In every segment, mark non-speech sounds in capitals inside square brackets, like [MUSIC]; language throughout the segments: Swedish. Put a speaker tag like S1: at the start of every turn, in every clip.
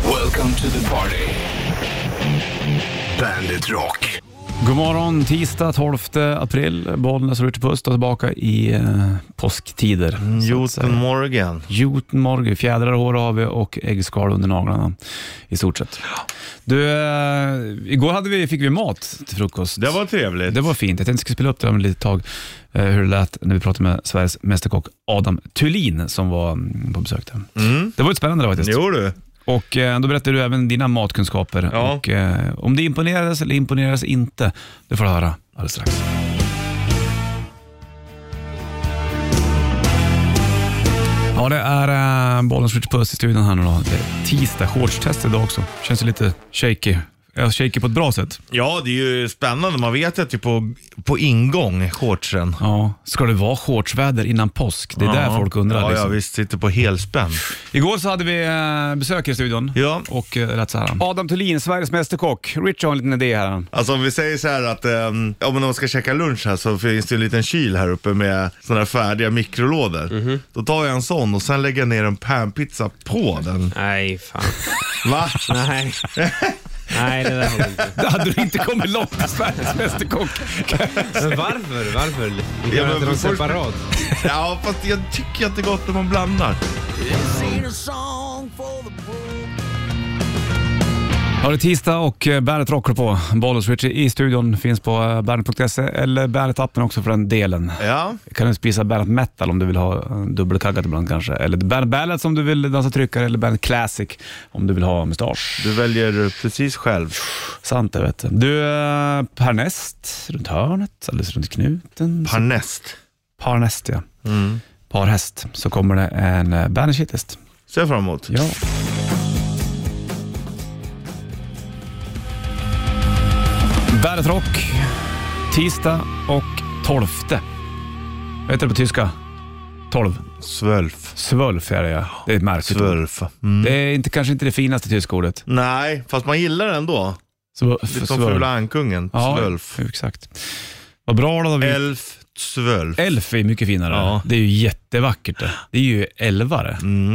S1: Welcome to the party. Bandit Rock.
S2: God morgon, tisdag 12 april. Bollnäs och Ritchie Puss är tillbaka i eh, påsktider.
S3: Mm,
S2: så att säga.
S3: Newton Morgan.
S2: Juten morgon, fjädrar, hår har vi och äggskal under naglarna i stort sett. Du, eh, igår hade vi, fick vi mat till frukost.
S3: Det var trevligt.
S2: det var fint. Jag tänkte att jag skulle spela upp det om ett litet tag, eh, hur det lät när vi pratade med Sveriges mästerkock Adam Thulin som var mm, på besök där. Det var ju spännande det faktiskt.
S3: Jo du.
S2: Och eh, då berättade du även dina matkunskaper.
S3: Ja.
S2: Och, eh, om det imponerades eller imponerades inte, det får du höra alldeles strax. Ja, det är äh, Bollens Rich Puss i studion här nu då. Det är tisdag, shortstest idag också. Känns ju lite shaky. Ja, shaky på ett bra sätt.
S3: Ja, det är ju spännande. Man vet ju att det är på, på ingång, shortsen.
S2: Ja. Ska det vara shortsväder innan påsk? Det är där
S3: Ja.
S2: folk undrar.
S3: Ja,
S2: liksom.
S3: ja visst. Sitter på helspänn.
S2: Igår så hade vi eh, besök i studion.
S3: Ja.
S2: Och eh, det lät så här. Adam Thulin, Sveriges mästerkock. Rich har en liten idé här.
S3: Alltså om vi säger så här att ehm, ja, men om man ska käka lunch här så finns det en liten kyl här uppe med sådana här färdiga mikrolådor.
S2: Mhm.
S3: Då tar jag en sån och sen lägger jag ner en panpizza på den.
S4: Nej, fan.
S2: [LAUGHS]
S3: Va?
S4: Nej. Nej, det där håller inte.
S2: Då hade du inte kommit långt i Sveriges [LAUGHS] Mästerkock.
S4: Men varför? Varför? Vi
S3: Ja,
S4: kan ja,
S3: men
S4: inte dem
S3: först-
S4: separat.
S3: [LAUGHS] ja, fast jag tycker att det är gott när man blandar.
S2: Ja, det är tisdag och eh, Bandet rockar på. Bollers Richie i studion finns på eh, bandet.se eller Bandet-appen också för den delen.
S3: Ja,
S2: Kan du spisa Bandet Metal om du vill ha eh, dubbelkaggat ibland kanske. Eller Bandet Ballet om du vill dansa tryckare eller Bandet Classic om du vill ha mustasch.
S3: du väljer precis själv.
S2: Sant det vet du. Du, eh, Parnest runt hörnet, alldeles runt knuten.
S3: Parnest.
S2: Parnest ja. Parhäst. Så kommer det en eh, Bandet Shitlist.
S3: Ser jag fram emot.
S2: Ja. Bandet Rock, tisdag och tolfte. Vad heter det på tyska? Tolv.
S3: Svölf.
S2: Svölf är det ja. Det är ett märkligt ord.
S3: Svölf. Mm.
S2: Det är inte, kanske inte det finaste tyska ordet.
S3: Nej, fast man gillar det ändå.
S2: Svölf.
S3: Lite som Fula Ankungen.
S2: Ja,
S3: Svölf.
S2: exakt. Vad bra då. Vi...
S3: Elf, svölf.
S2: Elf är mycket finare.
S3: Ja. Mm.
S2: Det är ju jättevackert det. Det är ju elvare.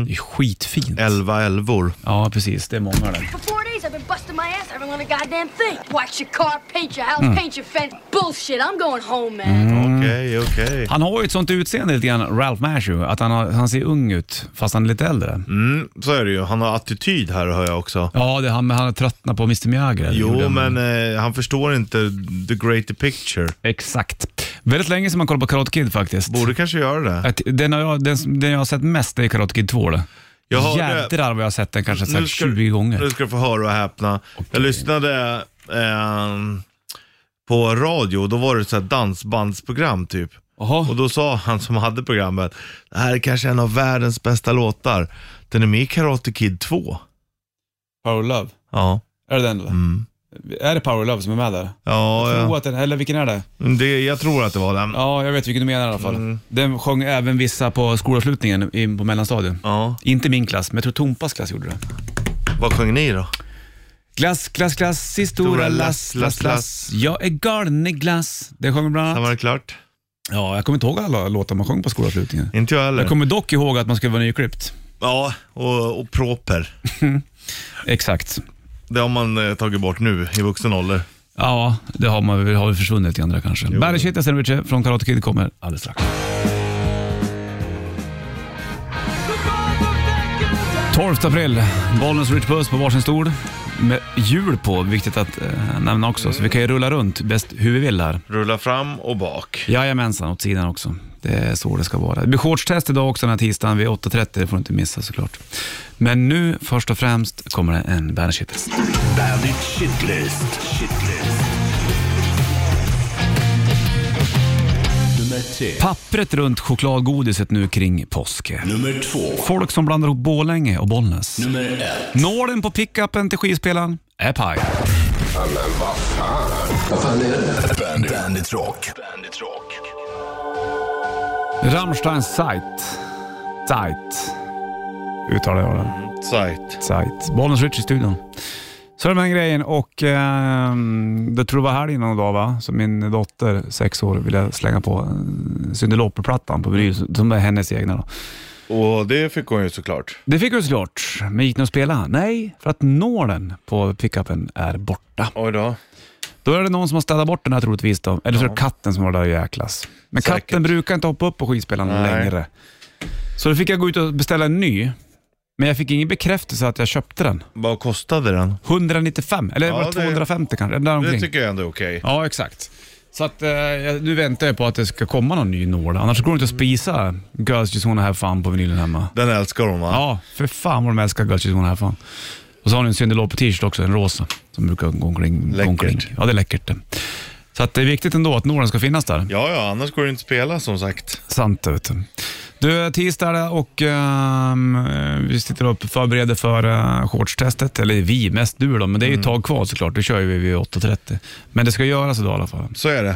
S2: Det är skitfint.
S3: Elva älvor.
S2: Ja, precis. Det är många där.
S5: For four days, I've been busting my ass. I haven't learned a goddamn thing. Wax your car, paint your house, paint your fence. Bullshit. I'm going home, man.
S2: Mm.
S3: Okej, okej.
S2: Han har ju ett sånt utseende lite grann, Ralph Macchio, att han, har, han ser ung ut fast han är lite äldre.
S3: Mm, så är det ju. Han har attityd här hör jag också.
S2: Ja, det är han, men han har tröttnat på Mr Miyagi. eller gjorde
S3: Jo,
S2: han?
S3: men eh, han förstår inte the greater picture.
S2: Exakt. Väldigt länge sedan man kollade på Karate Kid faktiskt.
S3: Borde kanske göra det.
S2: Att Den, har jag, den, som- den jag har sett mest är Karate Kid 2. det.
S3: Jag hörde-
S2: Jädrar vad jag har sett den kanske så här
S3: Nu ska-
S2: 20 gånger.
S3: Nu ska du få höra och häpna. Jag lyssnade eh, på radio, då var det ett så här dansbandsprogram typ.
S2: Jaha.
S3: Och då sa han som hade programmet, det här är kanske en av världens bästa låtar. Den är med i Karate Kid 2.
S2: Power Love.
S3: Ja.
S2: Är det den?
S3: Mm.
S2: Är det Power Love som är med där?
S3: Ja, ja.
S2: att den, eller vilken är det?
S3: Det, jag tror att det var den.
S2: Ja, jag vet vilken du menar i alla fall. Den sjöng även vissa på skolavslutningen in på mellanstadiet.
S3: Ja.
S2: Inte min klass, men jag tror Tompas klass gjorde det.
S3: Vad sjöng ni då?
S2: Glass, glass, glass i stora lass, lass, lass. Jag är galen i glass. Det sjöng bland
S3: Sen var
S2: annat.
S3: det klart.
S2: Ja, jag kommer inte ihåg alla låtar man sjöng på skolavslutningen.
S3: Inte jag heller.
S2: Jag kommer dock ihåg att man skulle vara nyklippt.
S3: Ja, och, och proper.
S2: Exakt.
S3: Det har man eh, tagit bort nu i vuxen ålder.
S2: Ja, det har, man, väl- har väl försvunnit i andra kanske. Barry Kittas Richie från Karate Kid kommer alldeles strax. 12 april, Bollnäs Rich Puss på varsin stol. Med hjul på, viktigt att eh, nämna också. Så vi kan ju rulla runt bäst hur vi vill här.
S3: Rulla fram och bak.
S2: Jajamensan, åt sidan också. Det är så det ska vara. Det blir shortstest idag också den här tisdagen vid 8.30. Det får du inte missa såklart. Men nu först och främst kommer det en bandage hitlist.
S1: Bandit Shitlist. Shitlist. Nummer tre.
S2: Pappret runt chokladgodiset nu kring påske.
S1: Nummer två.
S2: Folk som blandar ihop Borlänge och Bollnäs.
S1: Nummer ett.
S2: Nålen på pickupen till skivspelaren är paj.
S1: Bandit. Bandit Rock. Bandit Rock.
S2: Rammstein Sight. Sight. Uttalar jag den.
S3: Sajt.
S2: Sight. Bollnäs Rich i studion. Så är det med den grejen och eh, det tror jag var helgen någon dag va? Så min dotter, sex år, ville slänga på eh, Cyndi Lauper-plattan på vinyl, som är hennes egna då.
S3: Och det fick hon ju såklart.
S2: Det fick du såklart, men gick ni och spela? Nej, för att nålen på pickupen är borta.
S3: Oj då.
S2: Då är det någon som har städat bort den här troligtvis då. Eller så är det katten som var där och jäklas. Men
S3: Säkert.
S2: katten brukar inte hoppa upp på skidspelaren
S3: Nej.
S2: längre. Så då fick jag gå ut och beställa en ny. Men jag fick ingen bekräftelse att jag köpte den.
S3: Vad kostade den?
S2: 195, eller var
S3: Ja,
S2: det
S3: det-
S2: 250 kanske? Där
S3: Det
S2: omkring.
S3: tycker jag ändå är okej.
S2: Ja, exakt. Så att eh, jag- nu väntar jag på att det ska komma någon ny nål. Annars går det inte att spisa Girls Just Wanna Have Fun på vinylen hemma.
S3: Den älskar hon va?
S2: Ja, för fan vad de älskar Girls Just Wanna Have Fun. Och så har hon en Cyndi på t-shirt också, en rosa, som brukar gå omkring. gå
S3: Läckert.
S2: omkring. Ja, det är läckert. det. Så att det är viktigt ändå att nålen ska finnas där.
S3: Ja, ja, annars går det inte att spela som sagt.
S2: Sant det, vet du. Du, tisdag är det och ehm, vi sitter och förbereder för uh, shortstestet. Eller vi, mest du då, men det är ju ett tag kvar såklart. Det kör ju vi vid 8.30. Men det ska göras idag i alla fall.
S3: Så är det.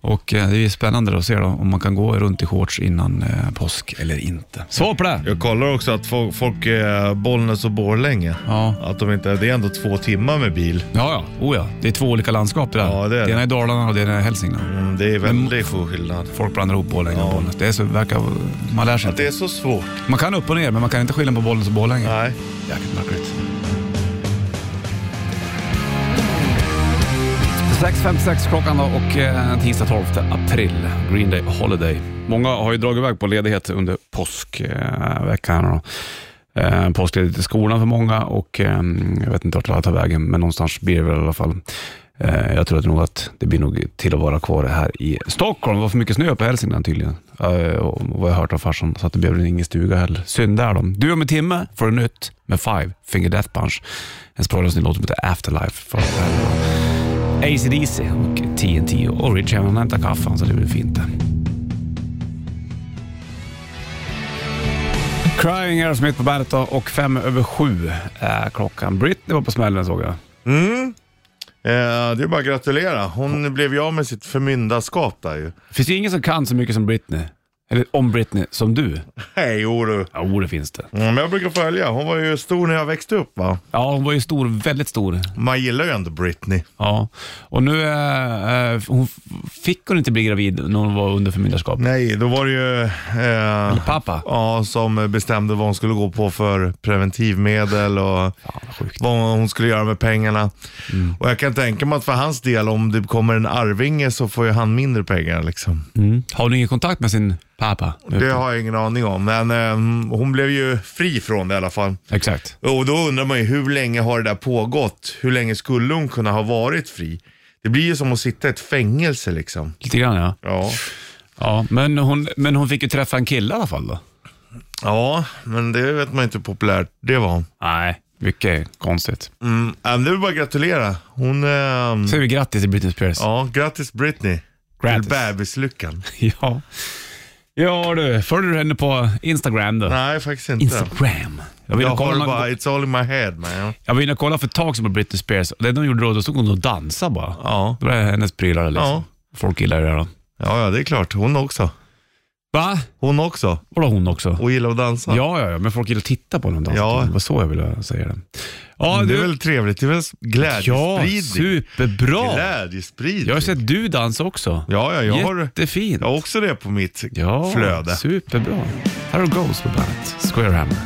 S2: Och eh, det är spännande att se då, om man kan gå runt i shorts innan eh, påsk eller inte. Svar på det!
S3: Jag kollar också att fo- folk är Bollnäs och Borlänge.
S2: Ja.
S3: Att de inte, det är ändå två timmar med bil.
S2: Ja, ja. Oh, ja. Det är två olika landskap det där.
S3: Ja, det är det.
S2: ena är Dalarna och det ena är Hälsingland.
S3: Mm, Det är väldigt stor skillnad.
S2: Folk blandar ihop Borlänge och
S3: Ja.
S2: Bollnäs. Det är så, verkar, man lär sig
S3: Att det
S2: inte.
S3: är så svårt.
S2: Man kan upp och ner, men man kan inte skilja på Bollnäs och Borlänge.
S3: Nej.
S2: Jäkligt märkligt. 6.56 klockan då och eh, tisdag 12 april, Green Day Holiday. Många har ju dragit iväg på ledighet under påskveckan. Eh, Eh, påskledigt i skolan för många och eh, jag vet inte vart alla tar vägen, men någonstans blir det väl i alla fall. Eh, jag tror att, nog att det blir nog till att vara kvar här i Stockholm. Det var för mycket snö på Hälsingland tydligen, eh, och vad jag har hört av farsan, så att det blev väl ingen stuga heller. Synd där då. Du om en timme får du nytt med Five Finger Death Punch. En språklös ny låt som heter Afterlife. För ACDC och TNT och Rich han hämtar kaffe så det blir fint det. Crying Aerosmith på bandet då, och fem över sju är klockan. Britney var på smällen såg jag.
S3: Eh, det är bara att gratulera. Hon blev ju av med sitt förmyndarskap där ju.
S2: Finns det ingen som kan så mycket som Britney? Eller om Britney, som du?
S3: Nej, jo du.
S2: Ja, oh, det finns det.
S3: Mm, Men jag brukar följa. Hon var ju stor när jag växte upp va.
S2: Ja, hon var ju stor, väldigt stor.
S3: Man gillar ju ändå Britney.
S2: Ja. Och nu, eh, eh, hon f- fick hon inte bli gravid när hon var under förmyndarskap?
S3: Nej, då var det ju... Eh,
S2: Pappa?
S3: ja, som bestämde vad hon skulle gå på för preventivmedel och
S2: Fan, vad sjukt. Mm.
S3: vad hon skulle göra med pengarna. Och jag kan tänka mig att för hans del, om det kommer en arvinge så får ju han mindre pengar liksom.
S2: Mm. Har hon ingen kontakt med sin pappa?
S3: Det har jag ingen aning om, men eh, hon blev ju fri från det i alla fall.
S2: Exakt.
S3: Och då undrar man ju hur länge har det där pågått? Hur länge skulle hon kunna ha varit fri? Det blir ju som att sitta i ett fängelse liksom.
S2: Lite grann ja.
S3: Ja,
S2: ja men, hon, men hon fick ju träffa en kille i alla fall då?
S3: ja men det vet man inte hur populärt det var.
S2: Nej, vilket konstigt.
S3: Mm. Äh, men Det är bara att gratulera. Hon... ehm,
S2: Säger vi grattis till Britney Spears.
S3: ja, grattis Britney.
S2: Grattis.
S3: Till bebislyckan.
S2: [LAUGHS] ja. Ja du, följer du henne på Instagram då?
S3: Nej, faktiskt inte.
S2: Instagram. Jag var inne
S3: Jag
S2: och
S3: har
S2: kollade-
S3: bara, it's all in my head man.
S2: jag var inne och kollade för ett tag sedan på Britney Spears. Och det de gjorde då, då stod hon och dansade bara.
S3: Ja.
S2: Det var hennes prylar liksom.
S3: Ja.
S2: Folk gillar det då.
S3: Ja, ja, det är klart. Hon också.
S2: Va?
S3: Hon också.
S2: Vadå hon också?
S3: Och gillar att dansa.
S2: Ja, ja, ja, men folk gillar att titta på henne dansa.
S3: Ja.
S2: Det var så jag ville säga det. Ja,
S3: Det är
S2: du-
S3: väl trevligt? Det är väl
S2: Ja,
S3: glädjespridning?
S2: superbra.
S3: Glädjespridning.
S2: Jag har sett du dansa också.
S3: Ja, ja, jag har,
S2: Jättefint.
S3: jag har också det på mitt
S2: Ja,
S3: flöde.
S2: superbra. Här har Ghost på bandet. Squarehammer.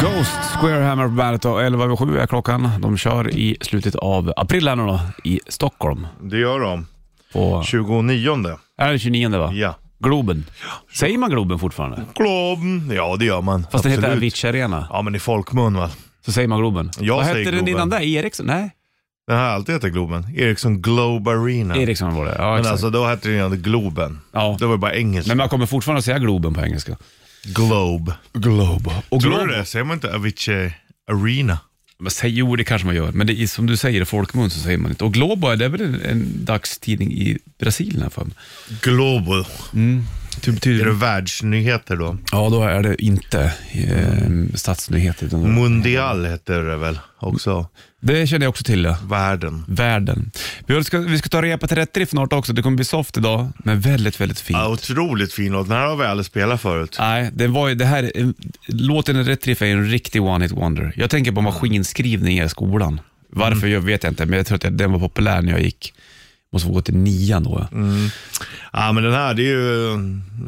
S2: Ghost Squarehammer på bandet och 11 över 7 är klockan. De kör i slutet av april här nu då, i Stockholm.
S3: Det gör de.
S2: På,
S3: 29.
S2: är det 29 va?
S3: Ja.
S2: Globen. Säger man Globen fortfarande?
S3: Globen. Ja, det gör man.
S2: Fast det heter
S3: Absolut.
S2: Avicii Arena.
S3: Ja, men i folkmun va.
S2: Så säger man Globen.
S3: Jag
S2: Vad
S3: säger
S2: hette den
S3: Globen.
S2: innan där? Eriksson? Nej,
S3: Den har alltid hetat Globen. Ericsson Globe Arena.
S2: Eriksson var det. Ja,
S3: men
S2: exakt.
S3: alltså då hette den ju Globen.
S2: Ja.
S3: Det var ju bara engelska.
S2: Men man kommer fortfarande säga Globen på engelska.
S3: Globe.
S2: Globe. Och
S3: Tror du
S2: Globe.
S3: det? Säger man inte Avicii Arena?
S2: Men säg, jo, det kanske man gör, men det är, som du säger i folkmun så säger man inte. Och Globo, det är väl en, en dagstidning i Brasilien här för mig.
S3: Globo.
S2: Typ,
S3: Är det världsnyheter då?
S2: Ja, då är det inte eh, statsnyheter. Utan,
S3: Mundial heter det väl också?
S2: det känner jag också till. Ja.
S3: Världen.
S2: Världen. Vi ska, vi ska ta repa till rätt drift snart också. Det kommer bli soft idag, men väldigt, väldigt fint.
S3: Ja, otroligt fin låt. Den här har vi aldrig spelat förut.
S2: Nej, det var ju, det här, låten Rätt Riff är ju en riktig one-hit wonder. Jag tänker Mm. på maskinskrivning i skolan. Varför jag vet jag inte, men jag tror att jag- den var populär när jag gick. Måste få gå till nian då. ja.
S3: Ja, men den här, det är ju eh,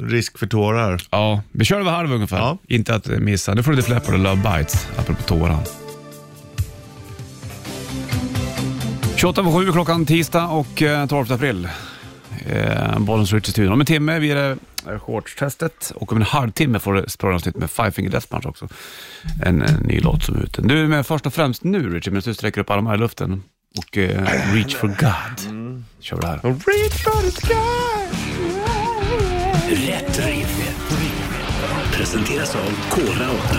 S3: risk för tårar.
S2: Ja, vi kör över halv ungefär.
S3: Ja.
S2: Inte att eh, missa. Nu får du The Flapper och Love Bites, apropå tårar. 28 på 7 klockan tisdag och eh, 12 april. Eh, Bollen slår ut i studion. Om en timme blir det eh, shortstestet och om en halvtimme får du språravsnitt med Five Finger Death Punch också. En, eh, ny låt som är ute. Du är med först och främst nu Richard, medan du sträcker upp armarna i luften och eh, Reach for God. Kör vi det här.
S3: Mm.
S1: Rätt riff. Presenteras av Kora 8.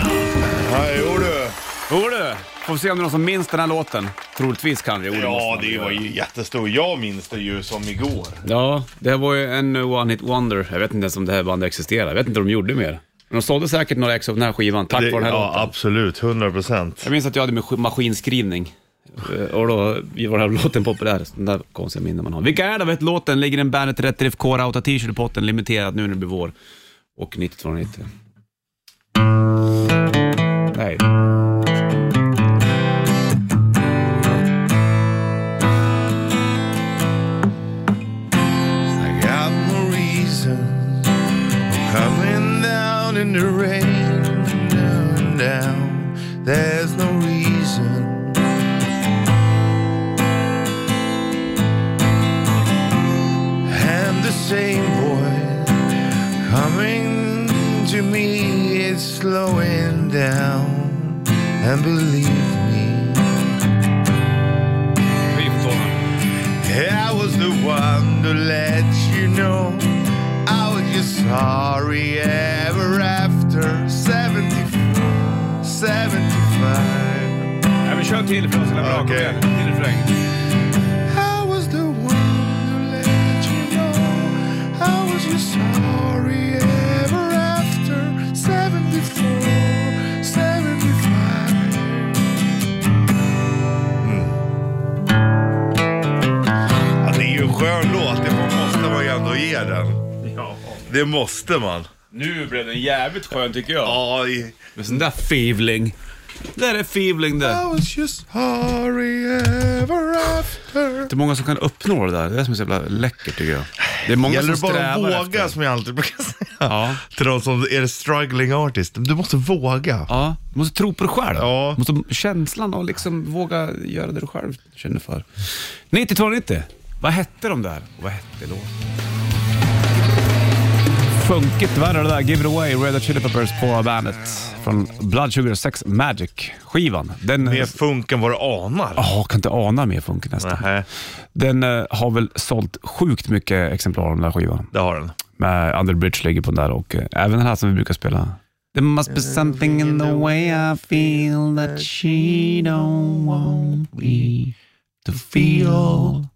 S3: Ja, jo du.
S2: Jo du, får vi se om det är någon som minns den här låten. Troligtvis kan det. Jo, måste man göra.
S3: ju jättestor. Jag minns det ju som igår.
S2: Ja, det här var ju en eh, one hit wonder. Jag vet inte ens om det här bandet existerar. Jag vet inte om de gjorde mer. Men de sålde säkert några ex av den här skivan tack
S3: Det,
S2: vare den här
S3: ja,
S2: låten.
S3: absolut. 100 procent.
S2: Jag minns att jag hade med sk- maskinskrivning. Eh, Och då var den här låten populär. Den där konstiga minnen man har. Vilka är det? Vet låten? Ligger en Bandet Rätt Riff Core Outa T-shirt i potten, limiterad nu när det blir vår. Och 9290. Nej.
S3: I got more reasons coming down in the rain. Down, down. There's no reason. And the same voice coming to me is slowing down. And believe me, I was the one to let you know I was just sorry ever after 74, 75
S2: Nej, men kör till för oss.
S3: bra. Kom igen.
S2: Till refräng.
S3: I was the one to let you know I was just sorry ever after 74, 75 Ja, det är ju en skön låt, det får- måste man ju ändå ge den. Det måste man.
S2: Nu blev den jävligt skön tycker jag.
S3: Ja, i-
S2: Med sån där fivling. Där är fivling det.
S3: I was just sorry ever after.
S2: Det är många som kan uppnå det där. Det är det som är så jävla läckert tycker jag. Det är många
S3: Gäller det
S2: som
S3: bara att
S2: strävar
S3: våga
S2: efter.
S3: som jag alltid brukar [LAUGHS] säga.
S2: Ja.
S3: Till de som är struggling artist. Du måste våga.
S2: Ja, du måste tro på dig själv.
S3: Ja.
S2: Du måste känslan och liksom våga göra det du själv känner för. 9290, vad hette de där? Och vad hette låten? Funkigt värre det där. Give it away, Red Hot Chili Peppers på bandet. Från Blood Sugar 6 Magic-skivan. Den...
S3: Mer funk än vad du anar.
S2: Ja, kan inte ana mer funk nästan.
S3: Nähä,
S2: Den eh, har väl sålt sjukt mycket exemplar av den där skivan.
S3: det har den.
S2: med Under Bridge ligger på den där och eh, även den här som vi brukar spela. There must be something in the way I feel that she don't want me to feel.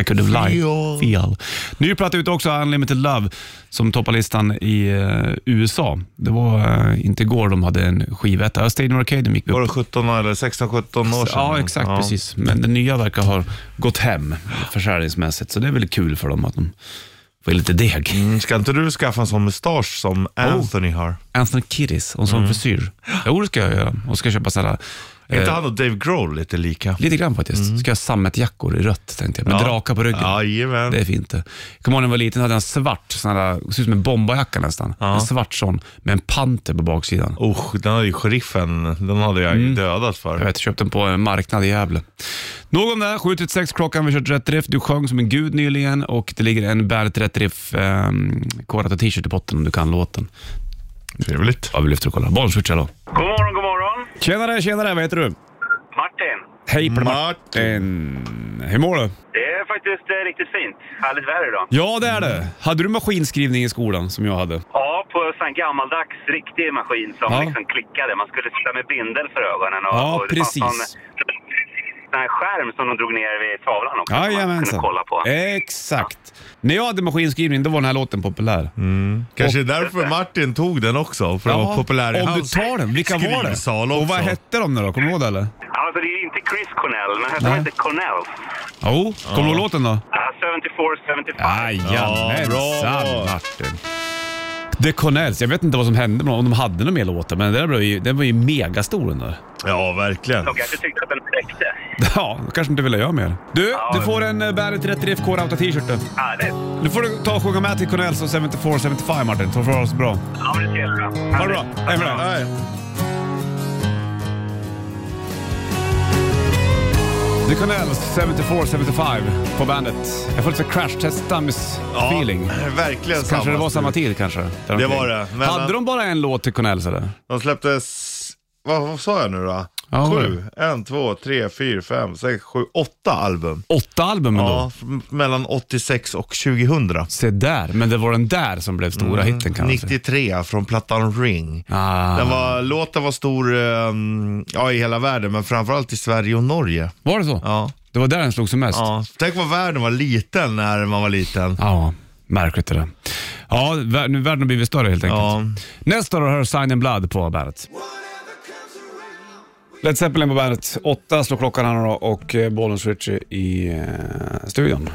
S2: I could have lied.
S3: Feel.
S2: Feel. Ny platta ute också, Unlimited Love, som toppar listan i eh, USA. Det var eh, inte igår de hade en skivetta. Stadium Arcade gick
S3: Var
S2: upp.
S3: det 17 eller 16-17 år sedan?
S2: Ja, exakt. Precis. Men den nya verkar ha gått hem försäljningsmässigt, så det är väl kul för dem att de får lite deg.
S3: Mm, Ska inte du skaffa en sån mustasch
S2: Oh.
S3: som Anthony har?
S2: Anthony Kiddis och en sån frisyr. Jo, det ska jag göra. Och ska köpa sådana...
S3: Är Mm. inte Mm.
S2: Eh,
S3: han och Dave Grohl lite lika?
S2: lite grann faktiskt. Ska jag ha sammetjackor i rött, tänkte jag. Med drakar på ryggen.
S3: Jajamän.
S2: Det är fint det. Kommer ihåg när jag var liten hade jag en svart, sån här, det ser ut som en bombarjacka nästan. En svart sån med en panter på baksidan.
S3: Usch, den hade ju sheriffen, den hade jag dödat för.
S2: Mm. Jag vet, köpte den på en marknad i Gävle. Nog om det, här. 7 till 6 klockan, vi har kört Rätt Riff. Du sjöng som en gud nyligen och det ligger en Bandet Rätt Riff eh, korat och t-shirt i botten om du kan låten.
S3: Trevligt.
S2: Ja, vi lyfter och kollar. Bollswitch, hallå.
S6: God morgon, god morgon.
S2: Tjenare, tjenare, vad heter du?
S6: Martin.
S2: Hej på dig Martin. Hur mår du?
S6: Det är faktiskt eh, riktigt fint. Härligt väder idag.
S2: Ja, det är det. Hade du maskinskrivning i skolan som jag hade?
S6: Ja, på en sån här gammaldags riktig maskin som
S2: Ja.
S6: liksom klickade. Man skulle sitta med bindel för ögonen. Och,
S2: Ja,
S6: och det fanns
S2: precis.
S6: Någon, sån här skärm som de drog ner vid tavlan också. som man kunde
S2: Jajamensan. Eh.
S6: kolla på.
S2: Exakt. När jag hade maskinskrivning, då var den här låten populär.
S3: Mm. Kanske därför Martin tog den också, för att vara
S2: Jaha.
S3: populär i
S2: Om du
S3: hans
S2: tar den, vilka var
S3: skrivsal
S2: det?
S3: också.
S2: Och vad hette de nu då? Kommer du ihåg det eller?
S6: Alltså, det är ju inte Chris Cornell, men hette
S2: Nej.
S6: de inte Cornell?
S2: Jo, kommer du ihåg låten då?
S6: Uh, 74, 75.
S2: Jajamensan
S3: Ja, bra.
S2: Martin. The Connells. Jag vet inte vad som hände med dem, om de hade några mer låtar, men den, där blev ju, den var ju megastor den där.
S3: Ja, verkligen.
S6: De kanske tyckte att den räckte.
S2: [LAUGHS] Ja, då kanske inte ville göra mer. Du, du får en eh, Bandet 30 FK Rauta t-shirten.
S6: Härligt.
S2: Nu får du ta och sjunga med till Connells och 74-75 Martin. Ta för oss bra.
S6: Ja, men det ska jag göra.
S2: Ha det
S6: Härligt.
S2: bra. Hej med dig.
S3: Nej.
S2: The Connells 74-75 på bandet. Jag får lite crash test dummies
S3: Ja,
S2: eh, feeling.
S3: Verkligen
S2: Kanske det
S3: samma
S2: var samma
S3: stuk.
S2: tid kanske.
S3: Det var det. Men-
S2: Hade de bara en låt till Connells eller?
S3: De släpptes, vad, vad sa jag nu då?
S2: Ja,
S3: Sju, en, två, tre, fyra, fem, sex, sju, åtta album.
S2: Åtta album ändå.
S3: Ja, f- mellan 86 och 2000.
S2: Se där, men det var den där som blev stora hitten kan man säga.
S3: 93 från plattan Ring.
S2: Ah.
S3: Mm. Den var, låten var stor eh, ja, i hela världen, men framförallt i Sverige och Norge.
S2: Var det så?
S3: Ja.
S2: Det var där den slog som mest?
S3: Ja. Tänk vad världen var liten när man var liten.
S2: Ja, märkligt det där. Ja, vär- nu världen har blivit större helt enkelt.
S3: Ja.
S2: Nästa då hör Sign in Blood på bandet. Led Zeppelin på bandet. Åtta slår klockan här nu då och eh, Bollens Ritchie i eh, studion.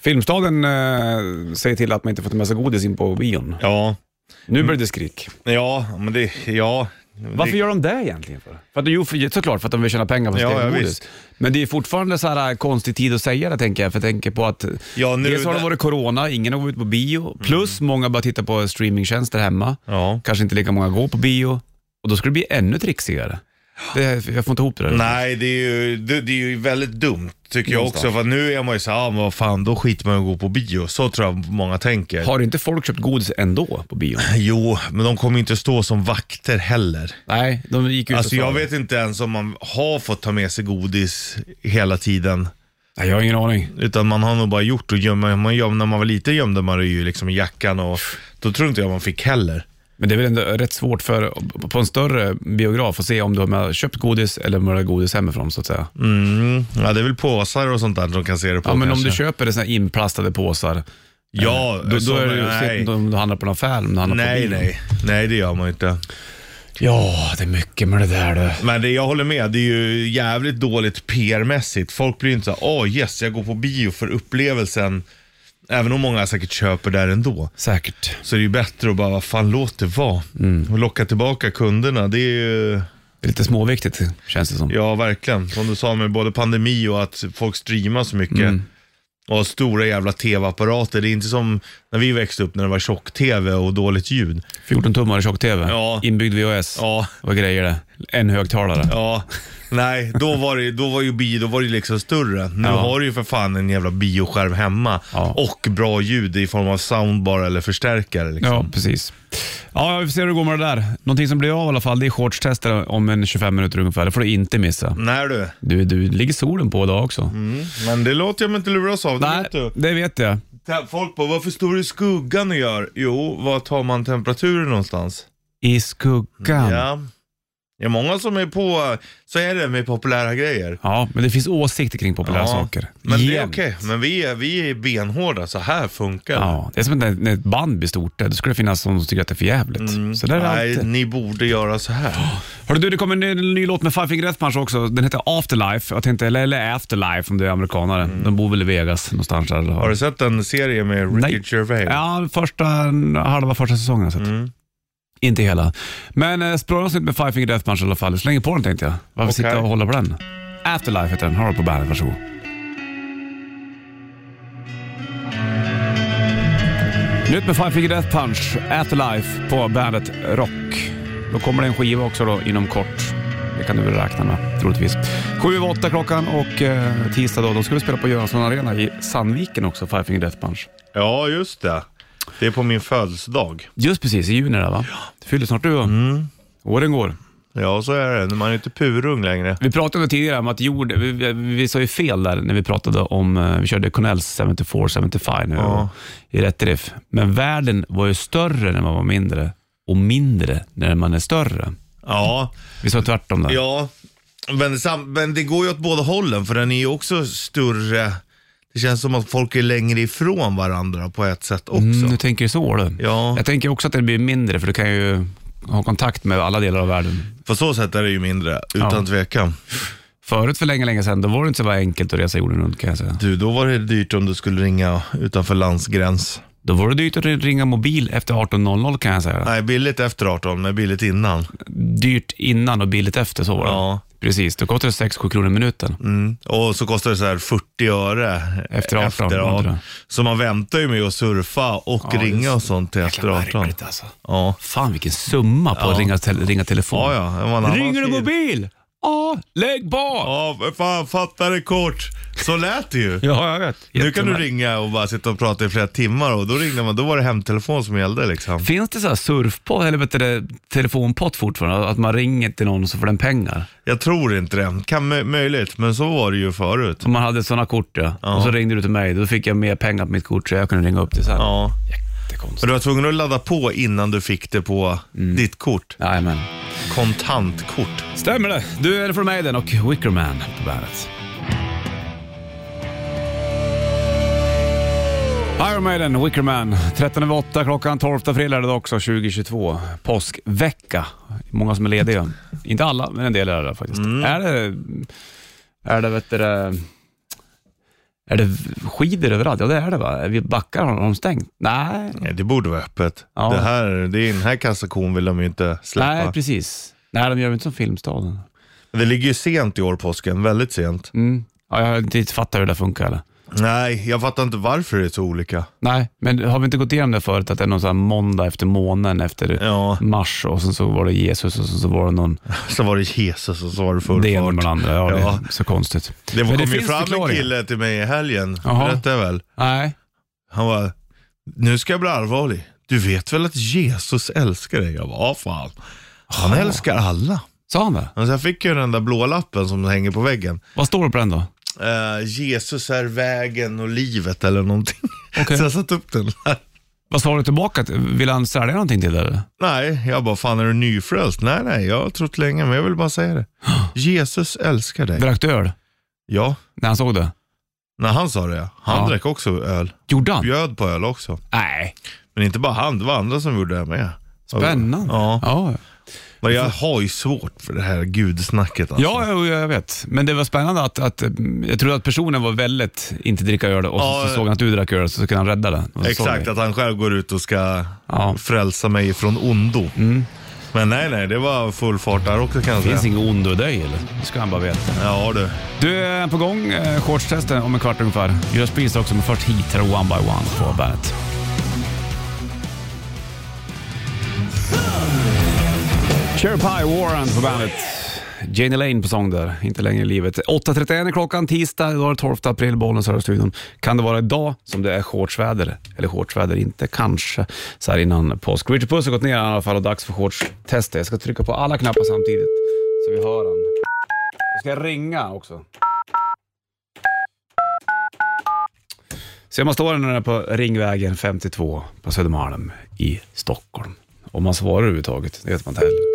S2: Filmstaden eh, säger till att man inte får ta med sig godis in på bion.
S3: Ja,
S2: Nu blir det skrik.
S3: ja men det, ja.
S2: Varför
S3: det,
S2: gör de det egentligen? För? För att, jo, för, såklart för att de vill tjäna pengar på sitt
S3: Ja,
S2: eget
S3: ja,
S2: godis.
S3: visst.
S2: Men det är fortfarande så här äh, konstig tid att säga det tänker jag. För jag tänker på att
S3: Ja, nu-
S2: dels har det
S3: där-
S2: varit corona, ingen har gått ut på bio. Plus många bara tittar på streamingtjänster hemma.
S3: Ja.
S2: Kanske inte lika många går på bio. Och då skulle det bli ännu trixigare. Det, jag får inte ihop det där.
S3: Nej, det är, ju, det, det är ju väldigt dumt tycker jag också. För nu är man ju så här, ah, men vad fan, då skiter man i att gå på bio. Så tror jag många tänker.
S2: Har inte folk köpt godis ändå på bio?
S3: Jo, men de kommer ju inte stå som vakter heller.
S2: Nej, de gick ut
S3: Alltså
S2: och sa
S3: jag
S2: det.
S3: vet inte ens om man har fått ta med sig godis hela tiden.
S2: Nej, jag har ingen aning.
S3: Utan man har nog bara gjort och gömma, man göm, när man var liten gömde man det ju liksom i jackan och då tror inte jag man fick heller.
S2: Men det är väl ändå rätt svårt för, på en större biograf att se om de har köpt godis eller om de har godis hemifrån så att säga.
S3: Mm. Ja, det är väl påsar och sånt där de kan se det på
S2: Ja, men om
S3: kanske.
S2: du köper såna här inplastade påsar,
S3: Ja,
S2: då, då
S3: såna-
S2: är det ju
S3: nej.
S2: sett om du handlar på en affär, om du handlar
S3: Nej,
S2: på bio.
S3: nej. Nej, det gör man ju inte.
S2: Ja, det är mycket med det där du.
S3: Men det, jag håller med, det är ju jävligt dåligt PR-mässigt. Folk blir ju inte så här, åh yes, jag går på bio för upplevelsen. Även om många säkert köper där ändå.
S2: Säkert.
S3: så är det ju bättre att bara, vad fan låt det vara. Och locka tillbaka kunderna, det är ju,
S2: Det är lite småviktigt känns det som.
S3: ja verkligen. Som du sa med både pandemi och att folk streamar så mycket. Och har stora jävla tv-apparater. Det är inte som när vi växte upp när det var tjock-tv och dåligt ljud.
S2: 14 tummar i tjock-tv,
S3: Ja.
S2: inbyggd VHS
S3: Ja,
S2: och grejer det. En högtalare.
S3: ja. Nej, då var, det, då var ju bio, då var det liksom större. Nu
S2: Ja.
S3: har du ju för fan en jävla bioskärm hemma
S2: Ja.
S3: och bra ljud i form av soundbar eller förstärkare. Liksom.
S2: Ja, precis. Ja, vi får se hur det går med det där. Någonting som blir av i alla fall, det är shortstester om en 25 minuter ungefär. Det får du inte missa.
S3: Nej du,
S2: Du, du ligger solen på idag också.
S3: men det låter jag mig inte luras av. Mm, Det
S2: Nej,
S3: vet du.
S2: det vet jag.
S3: Ta- Folk bara, varför står du i skuggan och gör? Jo, var tar man temperaturen någonstans?
S2: I skuggan.
S3: Mm, Ja. Det är många som är på, så är det med populära grejer.
S2: Ja, men det finns åsikter kring populära saker.
S3: Men det är
S2: Jämt.
S3: okej, men vi är, vi är benhårda, så här funkar det.
S2: Ja, det är som när när ett band blir stort, då skulle det finnas någon som tycker att det är för jävligt. Så där är det
S3: Mm. Nej,
S2: alltid.
S3: ni borde göra så här.
S2: Hörru du, det kommer en ny, ny låt med Five Finger Death Punch också. Den heter Afterlife. Jag tänkte, eller, eller Afterlife om du är amerikanare. De bor väl i Vegas någonstans där.
S3: Mm. Har du sett en serie med Ricky
S2: Nej.
S3: Gervais? Mm.
S2: Ja, första, halva första säsongen har jag sett. Inte hela. Men eh, språla oss inte med Five Finger Death Punch i alla fall. Släng på den tänkte jag. Varför
S3: Okej.
S2: sitta och hålla på den? Afterlife heter den. Har du på bandet, varsågod. Nytt med Five Finger Death Punch, Afterlife på bandet Rock. Då kommer det en skiva också då inom kort. Det kan du väl räkna med troligtvis. Sju över åtta klockan och eh, tisdag då, då ska vi spela på Göransson Arena i Sandviken också, Five Finger Death Punch.
S3: Ja, just det. Det är på min födelsedag.
S2: Just precis, i juni där va? Du fyller snart du va? Åren går.
S3: Ja, så är det. Man är inte purung längre.
S2: Vi pratade tidigare om att jord, vi, vi, vi sa ju fel där när vi pratade om, eh, vi körde Connells 74-75 nu
S3: Ja.
S2: i rätt riff. Men världen var ju större när man var mindre och mindre när man är större.
S3: Ja,
S2: Vi sa tvärtom där.
S3: Ja, men, sam- men det går ju åt båda hållen för den är ju också större. Det känns som att folk är längre ifrån varandra på ett sätt också.
S2: Mm, du tänker så du.
S3: Ja.
S2: Jag tänker också att det blir mindre för du kan ju ha kontakt med alla delar av världen.
S3: På så sätt är det ju mindre, utan
S2: Ja.
S3: tvekan.
S2: Förut för länge, länge sedan, då var det inte så bara enkelt att resa jorden runt kan jag säga.
S3: Du, då var det dyrt om du skulle ringa utanför landsgräns.
S2: Då var det dyrt att ringa mobil efter 18.00 kan jag säga.
S3: Nej, billigt efter 18, men billigt innan.
S2: Dyrt innan och billigt efter, så var det.
S3: Ja. Mm.
S2: Precis, då kostar det 6-7 kronor i minuten.
S3: Och så kostar det så här 40 öre.
S2: Efter 18,
S3: ja.
S2: undrar.
S3: Så man väntar ju med att surfa och
S2: Ja,
S3: ringa
S2: just-
S3: och sånt till efter
S2: Jäkla
S3: 18.
S2: märkligt alltså.
S3: Ja.
S2: Fan vilken summa på att ringa, te- ringa telefon.
S3: Ja, ja, det var en annan
S2: Ringer du
S3: tid.
S2: mobil? Ja, lägg på!
S3: Ja, för fan fatta det kort. Så lät det ju.
S2: Ja, jag vet.
S3: Nu kan du ringa och bara sitta och prata i flera timmar och då ringde man, då var det hemtelefon som gällde liksom.
S2: Finns det så här surfpott, eller vet du, det, telefonpott fortfarande? Att man ringer till någon och så får den pengar?
S3: Jag tror inte det. Kan mö- möjligt, men så var det ju förut.
S2: Om man hade sådana kort ja. Och så ringde du till mig, då fick jag mer pengar på mitt kort så jag kunde ringa upp till sen.
S3: Ja.
S2: Jättekonstigt.
S3: Men du var tvungen att ladda på innan du fick det på
S2: Mm.
S3: ditt kort.
S2: Jajamän.
S3: Kontantkort.
S2: Stämmer det. Du är det från Maiden och Wickerman på bandet. Iron Maiden, Wickerman. 13 över 8 klockan 12 april är det också 2022. Påskvecka. Många som är lediga. Inte alla, men en del är det faktiskt. Är det... Är det vet du, det- är det skidor överallt? Ja, det är det va? Vi backar, har de stängt? Nej,
S3: Nej, det borde vara öppet.
S2: Ja.
S3: Det här, det är den här kassakon vill de ju inte släppa.
S2: Nej precis. Nej, de gör ju inte som Filmstaden.
S3: det ligger ju sent i år, påsken. Väldigt sent.
S2: Mm. Ja, jag har inte fattat hur det där funkar eller?
S3: Nej, jag fattar inte varför det är så olika.
S2: Nej, men har vi inte gått igenom det förut? Att det är någon sån här måndag efter månen, efter
S3: Ja.
S2: mars och sen så var det Jesus och sen så var det någon
S3: Så var det Jesus och så var det full
S2: det ena
S3: fart.
S2: med den andra. Ja,
S3: Ja.
S2: Det är så konstigt.
S3: Det
S2: Men
S3: kom ju
S2: finns
S3: fram en
S2: förklaringar.
S3: kille till mig i helgen,
S2: Jaha.
S3: berättade jag väl.
S2: Nej,
S3: Han var nu ska jag bli allvarlig. Du vet väl att Jesus älskar dig? Jag bara, ja fan. Han älskar alla.
S2: sa han det?
S3: Men sen fick jag den där blå lappen som hänger på väggen.
S2: Vad står det på den då?
S3: Eh, Jesus är vägen och livet eller någonting.
S2: Okej.
S3: Så jag satte upp den [LAUGHS] där.
S2: Vad svarade du tillbaka? Vill han sälja någonting till dig? eller?
S3: Nej, jag bara, fan är du nyfrälst? Nej, nej, jag har trott länge, men jag vill bara
S2: [GASPS]
S3: säga det. Jesus älskar dig.
S2: Drack du öl
S3: Ja,
S2: när han såg det?
S3: när han sa det, ja. han
S2: Ja.
S3: drack också öl.
S2: Gjorde han?
S3: Bjöd på öl också.
S2: Nej.
S3: Men inte bara han, det var andra som gjorde det med.
S2: Spännande.
S3: Ja.
S2: Ja,
S3: Men jag har ju svårt för det här gudsnacket alltså.
S2: ja jo, jag vet. Men det var spännande att, att mm, jag tror att personen var väldigt inte dricka öl och
S3: Ja,
S2: så, så såg han att du drack öl så kunde han rädda det. Och så såg
S3: Exakt,
S2: vi.
S3: att han själv går ut och ska
S2: Ja.
S3: frälsa mig från ondo. Men nej, nej, det var full fart där också kan jag
S2: Det finns
S3: säga.
S2: ingen ond i dig eller? Det ska han bara veta.
S3: Ja du.
S2: Du är på gång, eh, shortstesten om en kvart ungefär. Judas Priest också, men först Heat här och One by One på bandet. Cherry Pie Warren på bandet. Janie Lane på sång där, inte längre i livet. 8.31 är klockan, tisdag, idag är det 12 april, Bollnäs här i studion. Kan det vara idag som det är shortsväder? Eller shortsväder inte, kanske, så här innan påsk. Richard Puss har gått ner i alla fall och dags för shortstestet. Jag ska trycka på alla knappar samtidigt, så vi hör han. Jag ska ringa också. Se om man står den här på Ringvägen 52 på Södermalm i Stockholm. Om man svarar överhuvudtaget, det vet man inte heller.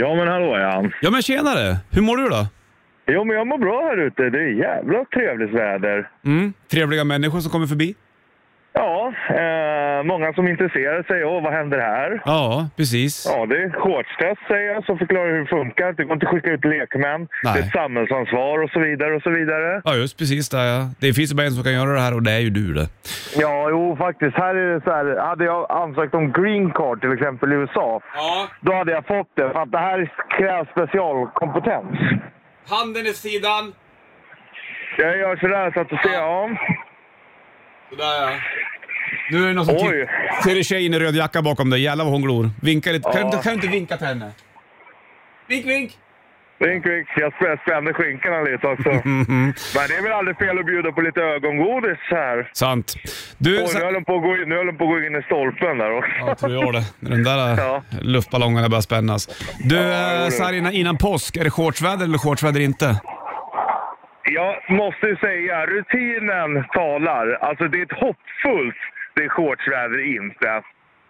S7: Ja men hallå ja.
S2: Ja men tjenare! Hur mår du då?
S7: Jo men jag mår bra här ute. Det är jävla trevligt väder.
S2: Mm. Trevliga människor som kommer förbi?
S7: Ja, eh, många som intresserar sig. Åh, vad händer här?
S2: Ja, precis.
S7: Ja, det är shortstest säger jag som förklarar hur det funkar. Det går inte att skicka ut lekmän.
S2: Nej.
S7: Det är ett samhällsansvar och så vidare och så vidare.
S2: Ja, just precis. Där, ja. Det finns ju bara en som kan göra det här och det är ju du det.
S7: Ja, jo faktiskt. Här är det så här. Hade jag ansökt om green card till exempel i USA.
S2: Ja,
S7: Då hade jag fått det. För att det här krävs specialkompetens.
S2: handen i sidan.
S7: Jag gör sådär så att du ser. Ja.
S2: Sådär ja. Nu är det någon som...
S7: Oj.
S2: Ser du tjejen i röd jacka bakom dig? Jävlar vad hon glor. Vinka lite. Kan,
S7: Ja.
S2: du, kan du inte vinka till henne? Vink, vink!
S7: Vink, vink. Jag spä- spände skinkorna lite
S2: [LAUGHS]
S7: också. Men det är väl aldrig fel att bjuda på lite ögongodis här.
S2: Sant. Du,
S7: Oj,
S2: sa-
S7: nu höll de på att gå in, nu höll de på att gå in i stolpen där också.
S2: Ja, tror jag det. När de där äh,
S7: Ja.
S2: luftballongerna börjar spännas. Du,
S7: jo,
S2: ja,
S7: det.
S2: innan, innan påsk, är det shortsväder eller shortsväder inte?
S7: Jag måste ju säga, rutinen talar. Alltså det är ett hoppfullt det är shortsväder inte.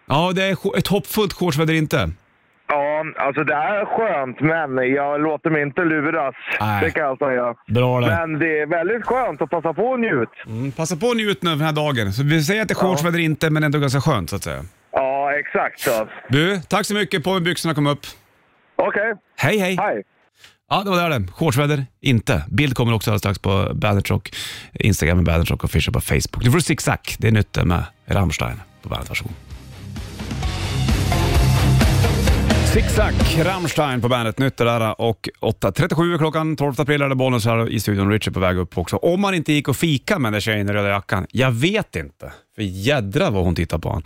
S2: Ja, det är sh- ett hoppfullt shortsväder inte.
S7: Ja, alltså det är skönt, men jag låter mig inte luras.
S2: Nej.
S7: Det kan jag säga.
S2: Bra det.
S7: Men det är väldigt skönt att passa på och njut.
S2: Mm, passa på att njuta nu av den här dagen. Så vi säger att det är shortsväder inte, men ändå ganska skönt så att säga.
S7: Ja, exakt. så.
S2: Du, tack så mycket. På med byxorna, kom upp.
S7: Okej,
S2: Hej, hej.
S7: hej.
S2: Ja, det var där det. Shortsväder, inte. Bild kommer också alldeles strax på Bandet Rock. Instagram är Bandet Rock Official på Facebook. Nu får du zigzag. Det är nytt det med Rammstein på Bandet. Varsågod. Zigzag, Rammstein på bandet, nytt det där eh, och 8.37 är klockan, 12 april är det Bollnäs här i studion, Richard på väg upp också. Om man inte gick och fika med den där tjejen i röda jackan, jag vet inte. För jädra vad hon tittar på honom,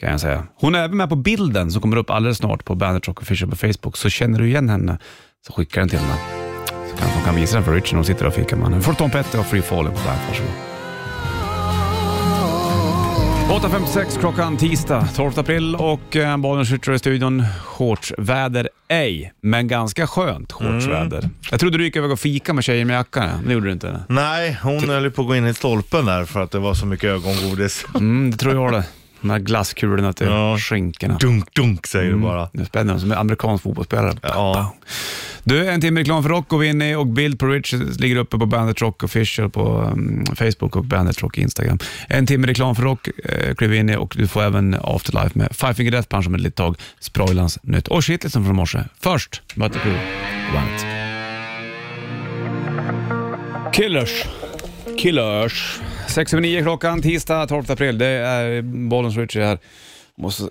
S2: kan jag säga. Hon är även med på bilden som kommer upp alldeles snart på Bandet Rock Official på Facebook, så känner du igen henne så skicka den till mig. Så kanske hon kan visa den för Richard när hon sitter och fikar med honom. Får Tom Petty och Free Falling på bandet, varsågod. 8.56 klockan tisdag 12 april och eh, Bollnäs Ritcher i studion. Shortsväder ej, men ganska skönt shortsväder. Jag trodde du gick över och fika med tjejer med jackan, ja. men det gjorde du inte.
S3: Nej, hon höll ju på att gå in i stolpen där för att det var så mycket ögongodis. [LAUGHS]
S2: Mm, det tror jag det. De här glasskulorna till
S3: Ja.
S2: skinkorna.
S3: Dunk, dunk säger du bara.
S2: Det är spännande, som en amerikansk fotbollsspelare.
S3: Ja.
S2: Du, en timme reklam för rock går vi in i och bild på Rich ligger uppe på Bandit Rock Official på mm, Facebook och Bandit Rock Instagram. En timme reklam för rock eh, kliver vi in i och du får även Afterlife med Five Finger Death Punch om ett litet tag, Sproilans nytt och shitlisten från morse. Först, Mötley Crüe på Bandet. Killers. Killers. 6.09 klockan, tisdag 12 april. Det är Bollens Richie här. Måste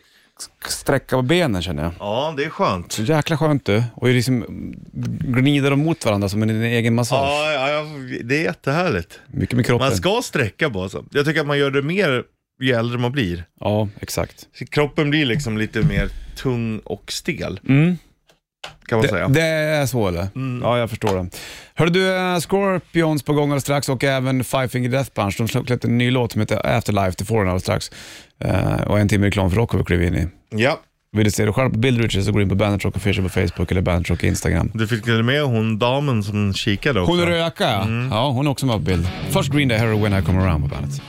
S2: sträcka på benen känner jag.
S3: Ja, det är skönt.
S2: Så jäkla skönt du. Och ju liksom gnider de mot varandra som en en egen massage.
S3: Ja, ja, ja, det är jättehärligt.
S2: Mycket med kroppen.
S3: Man ska sträcka på sig. Jag tycker att man gör det mer ju äldre man blir.
S2: Ja, exakt.
S3: Så kroppen blir liksom lite mer tung och stel. Kan man
S2: Det,
S3: säga.
S2: Mm. det är så eller?
S3: Mm.
S2: Ja, jag förstår det. Hörru du, eh, Scorpions på gång alldeles strax och även Five Finger Death Punch. De släppte en ny låt som heter Afterlife. Du får den alldeles strax. Eh, och en timme reklam för rock har vi klivit in i.
S3: Ja.
S2: Vill du se det själv på bild Richard så går du in på Bandit Rock Official på Facebook eller Bandit Rock Instagram.
S3: Du fick väl med hon damen som kikade också?
S2: Hon är röka ja. Ja, hon är också med på bild. Först Green Day, Hero When I Come Around på bandet.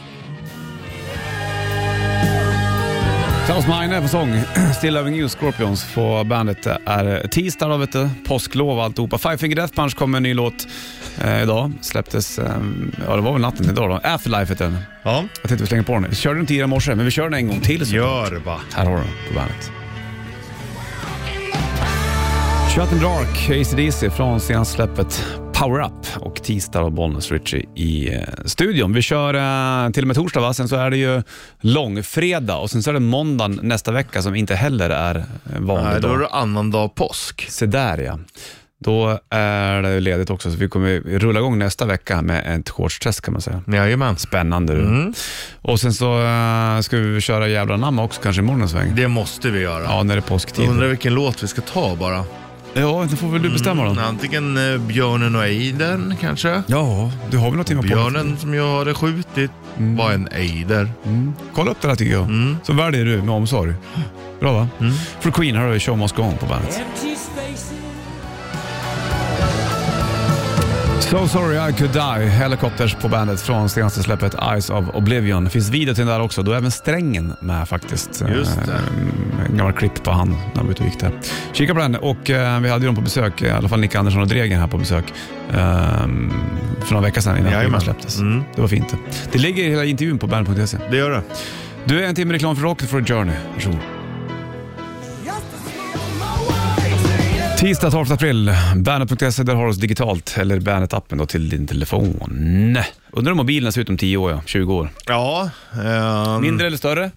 S2: Klaus Meine på sång, [CLEARS THROAT] Still Loving You Scorpions på bandet. Det är eh, tisdag då vet du, påsklov och alltihopa. Five Finger Death Punch kommer en ny låt eh, idag. Släpptes, eh, ja det var väl natten idag då. Afterlife heter den.
S3: Ja,
S2: Jag tänkte vi slänger på den. Vi körde den tidigare i morse, men vi kör den en gång till. Så.
S3: gör va.
S2: Här har du den på bandet. Shut in Dark, ACDC från senaste släppet Power Up och tisdag av Bollnäs Ritchie i eh, studion. Vi kör eh, till och med torsdag va? Sen så är det ju långfredag och sen så är det måndag nästa vecka som inte heller är eh, vanlig
S3: Nej, då
S2: dag.
S3: är det annandag påsk.
S2: Se där ja. Då är det ledigt också så vi kommer rulla igång nästa vecka med ett shortstest kan man säga.
S3: Jajamän.
S2: Spännande du.
S3: Mm.
S2: Och sen så eh, ska vi köra jävla namn också kanske i morgonens sväng.
S3: Det måste vi göra.
S2: Ja, när det är
S3: Jag
S2: påsktid.
S3: undrar vilken låt vi ska ta bara.
S2: Ja, det får väl du bestämma då.
S3: Antingen eh, Björnen och Eidern kanske.
S2: Ja, du har väl något timmar på dig.
S3: Björnen som jag hade skjutit var en ejder.
S2: Kolla upp det där tycker jag.
S3: Mm.
S2: Så väljer du med omsorg. Bra va? För Queen har du Show Must Go On på bandet. So sorry I could die, Helicopters på bandet från senaste släppet Eyes of Oblivion. Finns video till den där också, då är även strängen med faktiskt.
S3: Just det.
S2: Eh, En gammal klipp på han när han var ute och gick där. Kika på den och eh, vi hade ju dem på besök, i alla fall Nick Andersson och Dregen här på besök. eh, för några veckor sedan innan skivan
S3: Jajamän.
S2: släpptes.
S3: Mm.
S2: Det var fint det. Det ligger hela intervjun på bandet.se.
S3: Det gör det.
S2: Du är en timme reklam för Rocket för Journey. Varsågod. Tisdag 12 april. Bandet.se, där har du oss digitalt. Eller Bandet-appen då till din telefon. Undrar om mobilen ser ut om 10 år, ja. 20 år.
S3: Ja, ehm,
S2: Mindre eller större?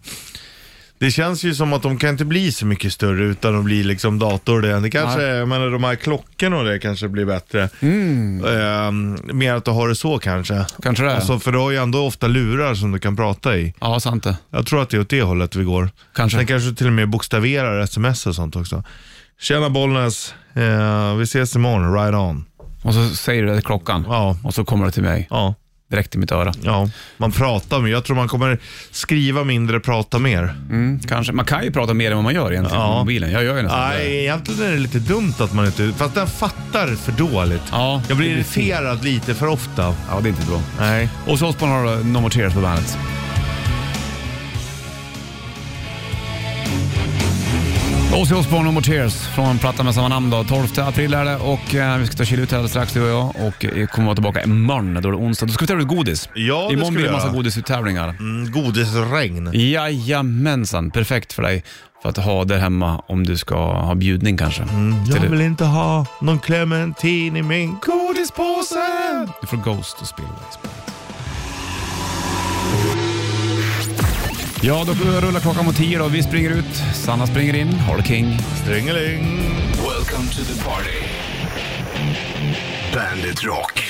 S3: det känns ju som att de kan inte bli så mycket större utan att bli liksom dator. Det, det kanske, jag menar de här klockorna och det kanske blir bättre. Ehm, mer att du har det så kanske.
S2: Kanske det.
S3: Alltså, för du har ju ändå ofta lurar som du kan prata i.
S2: Ja, sant det.
S3: Jag tror att det är åt det hållet vi går.
S2: Kanske.
S3: Sen kanske till och med bokstaverar sms och sånt också. Tjena Bollnäs, eh, vi ses imorgon, right on.
S2: Och så säger du det till klockan.
S3: Ja.
S2: Och så kommer det till mig.
S3: Ja,
S2: Direkt i mitt öra.
S3: ja. Man pratar mer. Jag tror man kommer skriva mindre, prata mer.
S2: Mm, kanske. Man kan ju prata mer än vad man gör egentligen
S3: Ja.
S2: på mobilen. Jag gör ju nästan
S3: Nej,
S2: det.
S3: egentligen är det lite dumt att man inte... Fast jag fattar för dåligt.
S2: Ja,
S3: jag blir
S2: det blir
S3: irriterad lite för ofta.
S2: Ja, det är inte bra.
S3: Nej.
S2: Och så Osborne har du No More Tears på bandet. Ozzy Osbourne och More Tears från plattan med samma namn. Då. 12 april är det och eh, vi ska ta och chilla ut här alldeles strax du och jag och eh, kommer vara tillbaka imorgon. Då är det onsdag. Då ska vi tävla ut godis.
S3: Ja, det ska
S2: Imorgon
S3: vi
S2: blir det en massa
S3: göra.
S2: godisuttävlingar.
S3: Mm, godisregn.
S2: Jajamensan, perfekt för dig för att ha där hemma om du ska ha bjudning kanske.
S3: Jag
S2: Till-
S3: vill inte ha någon clementin i min
S2: Godispåsen! Du får Ghost och Spillways på. Ja, då rullar klockan mot tio då. Vi springer ut, Sanna springer in, Harle King.
S3: Strängeling.
S1: Welcome to the party. Bandit Rock.